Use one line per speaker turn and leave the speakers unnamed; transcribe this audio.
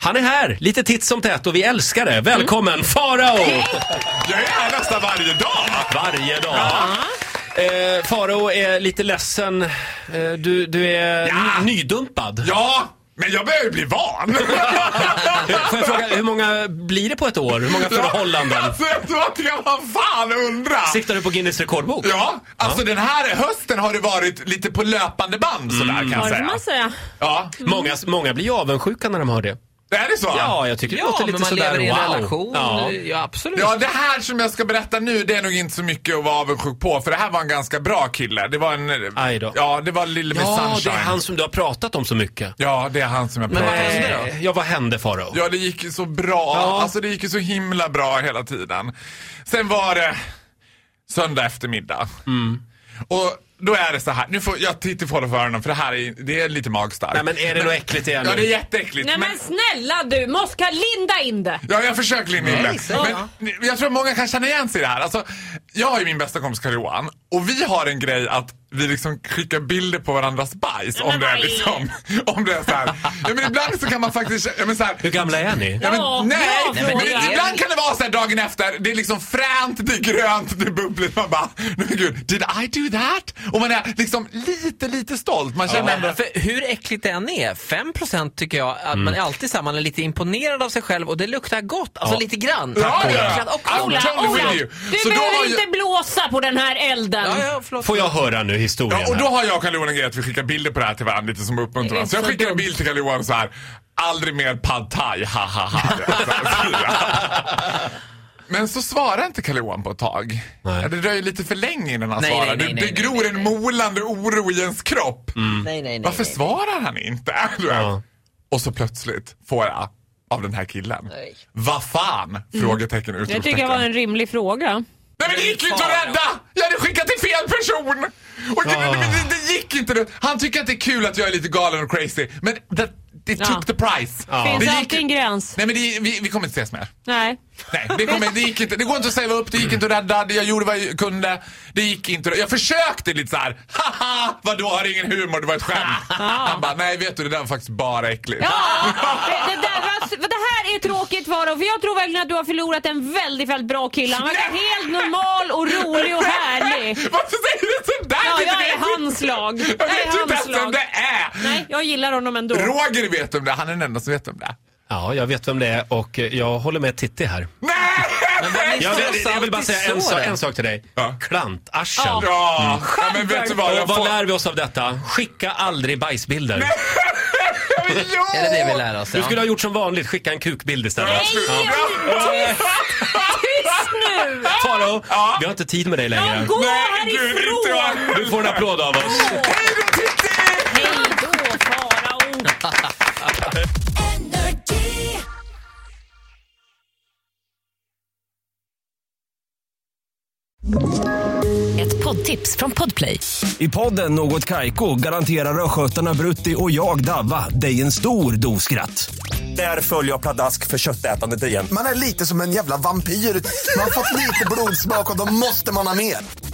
Han är här, lite titt som tätt och vi älskar det. Välkommen Farao!
Jag är här nästan varje dag.
Varje dag. Eh, Farao är lite ledsen. Eh, du, du är
Ja.
n- nydumpad.
Ja, men jag börjar ju bli van.
Får jag fråga, hur många blir det på ett år? Hur många förhållanden?
Alltså, jag tror att jag vad fan undra.
Siktar du på Guinness rekordbok?
Ja, alltså den här hösten har det varit lite på löpande band
Mm.
sådär kan jag
Ja, det får
säga.
man säga.
Ja,
Många, många blir ju avundsjuka när de hör det.
är det så?
Ja, jag tycker det
Ja,
låter
men
lite
man
sådär
lever i en
wow.
relation.
Ja.
Ja, absolut.
Ja, det här som jag ska berätta nu, det är nog inte så mycket att vara avundsjuk på. För det här var en ganska bra kille. Det var en...
Aj då.
Ja, det var Lille Miss
ja, det
Sunshine.
är han som du har pratat om så mycket.
Ja, det är han som jag
Men
pratar
vad hände
om.
då?
Eh, Ja, vad hände Farao?
Ja, det gick ju så bra.
Ja.
Alltså det gick ju så himla bra hela tiden. Sen var det söndag eftermiddag.
Mm.
Och då är det så här. Nu får jag titta på hålla för öronen för det här är, det är lite magstarkt.
Nej, men är det något äckligt igen
Ja,
nu?
det är jätteäckligt.
Nej men snälla du, måste kan linda in det.
Ja, jag försöker Linda.
Nej, säg ja.
men jag tror många kan känna igen sig i det här. Alltså, jag har ju min bästa kompis karl johan och vi har en grej att vi liksom skickar bilder på varandras bajs om
men
det är
vad är
liksom, om det är så här. Ja, men ibland så kan man faktiskt, ja, men så här,
Hur gamla är ni?
Ja, men,
Ja,
nej,
bra
men,
fråga.
ibland kan det vara så här dagen efter, det är liksom fränt, det är grönt, det är bubbligt. Man bara, nej men gud, did I do that? Och man är liksom lite, lite stolt. Man känner ändå,
Men för hur äckligt det än är, 5% tycker jag att man är alltid så här, man är lite imponerad av sig själv och det luktar gott, alltså lite grann.
ja,
Tack,
ja,
Ola.
ja.
Och
I'm
Ola,
totally
Ola,
with
du
you. Så då
behöver
har ju-
inte blåsa på den här elden.
Ja, ja, förlåt.
Får jag höra nu historien
Ja, och då
här?
har jag och Carl Johan en grej att vi skickar bilder på det här till varandra lite som
Det är
uppmuntran. Så jag
så
skickar en
dumt.
bild till Carl Johan så här. Aldrig mer pad thai, ha ha ha. Så här, skriver. Men så svarar inte Carl Johan på ett tag.
Nej.
Ja, Det dröjer lite för länge innan han
Nej,
svarar.
nej, nej,
det
nej,
det
nej, Mm.
gror en molande oro i ens kropp.
Nej, nej, nej.
Varför
nej.
svarar han inte? Du vet.
Ja.
Och så plötsligt får jag av den här killen.
Nej.
Vad fan? Frågetecken,
Jag tycker det
utropstecken.
var en rimlig fråga.
Nej men det gick ju inte att rädda! Jag hade skickat till fel person! Och det,
Ah.
det, det, det gick inte. Han tycker att det är kul att jag är lite galen och crazy, men det, det
Ja.
took the price.
Finns
Det
alltid en gräns.
Nej men det, vi, vi kommer inte ses mer.
Nej.
Nej, det, kommer, det, gick inte, det går inte att säga upp, det gick inte att rädda, det jag gjorde vad jag kunde. Det gick inte. Jag försökte lite så här. haha, vadå har du ingen humor, det var ett skämt. Han bara, nej vet du det där var faktiskt bara äckligt.
Ja, det, det, där var, det här är tråkigt Farao, för jag tror verkligen att du har förlorat en väldigt, väldigt bra kille. Han verkar helt normal och rolig och härlig.
Varför säger du sådär?
Ja,
Det inte
jag
det.
är hans lag.
Jag
Jag
vet ju
är
inte
hans
ens vem
lag.
det är.
Nej, jag gillar honom ändå.
Roger vet om det, han är den enda som vet om det.
Ja, jag vet vem det är och eh, jag håller med Titti här.
Nej!
Jag, vill- jag vill bara
alltid
säga en,
så
sak-
det.
en sak till dig.
Ja.
Klantarsel.
Ja.
Mm.
Ja, ja, men vet du vad?
Och
Jag
vad
får...
lär vi oss av detta? Skicka aldrig bajsbilder.
Jo!
Är det det vi lär oss?
Du
Ja.
skulle ha gjort som vanligt, skicka en kukbild istället.
Jag skulle-
Nej, Tyst nu!
Farao,
Ja.
vi har inte tid med dig
Jag
längre.
går
Nej, gud, inte jag.
härifrån!
Du får en applåd av oss.
Hej då, Titti!
Hej då Farao!
Ett poddtips från Podplay.
I podden Något Kaiko garanterar östgötarna Brutti och jag, Davva, dig en stor dos skratt. Där följer jag pladask för köttätandet igen.
Man är lite som en jävla vampyr. Man har fått lite blodsmak och då måste man ha mer.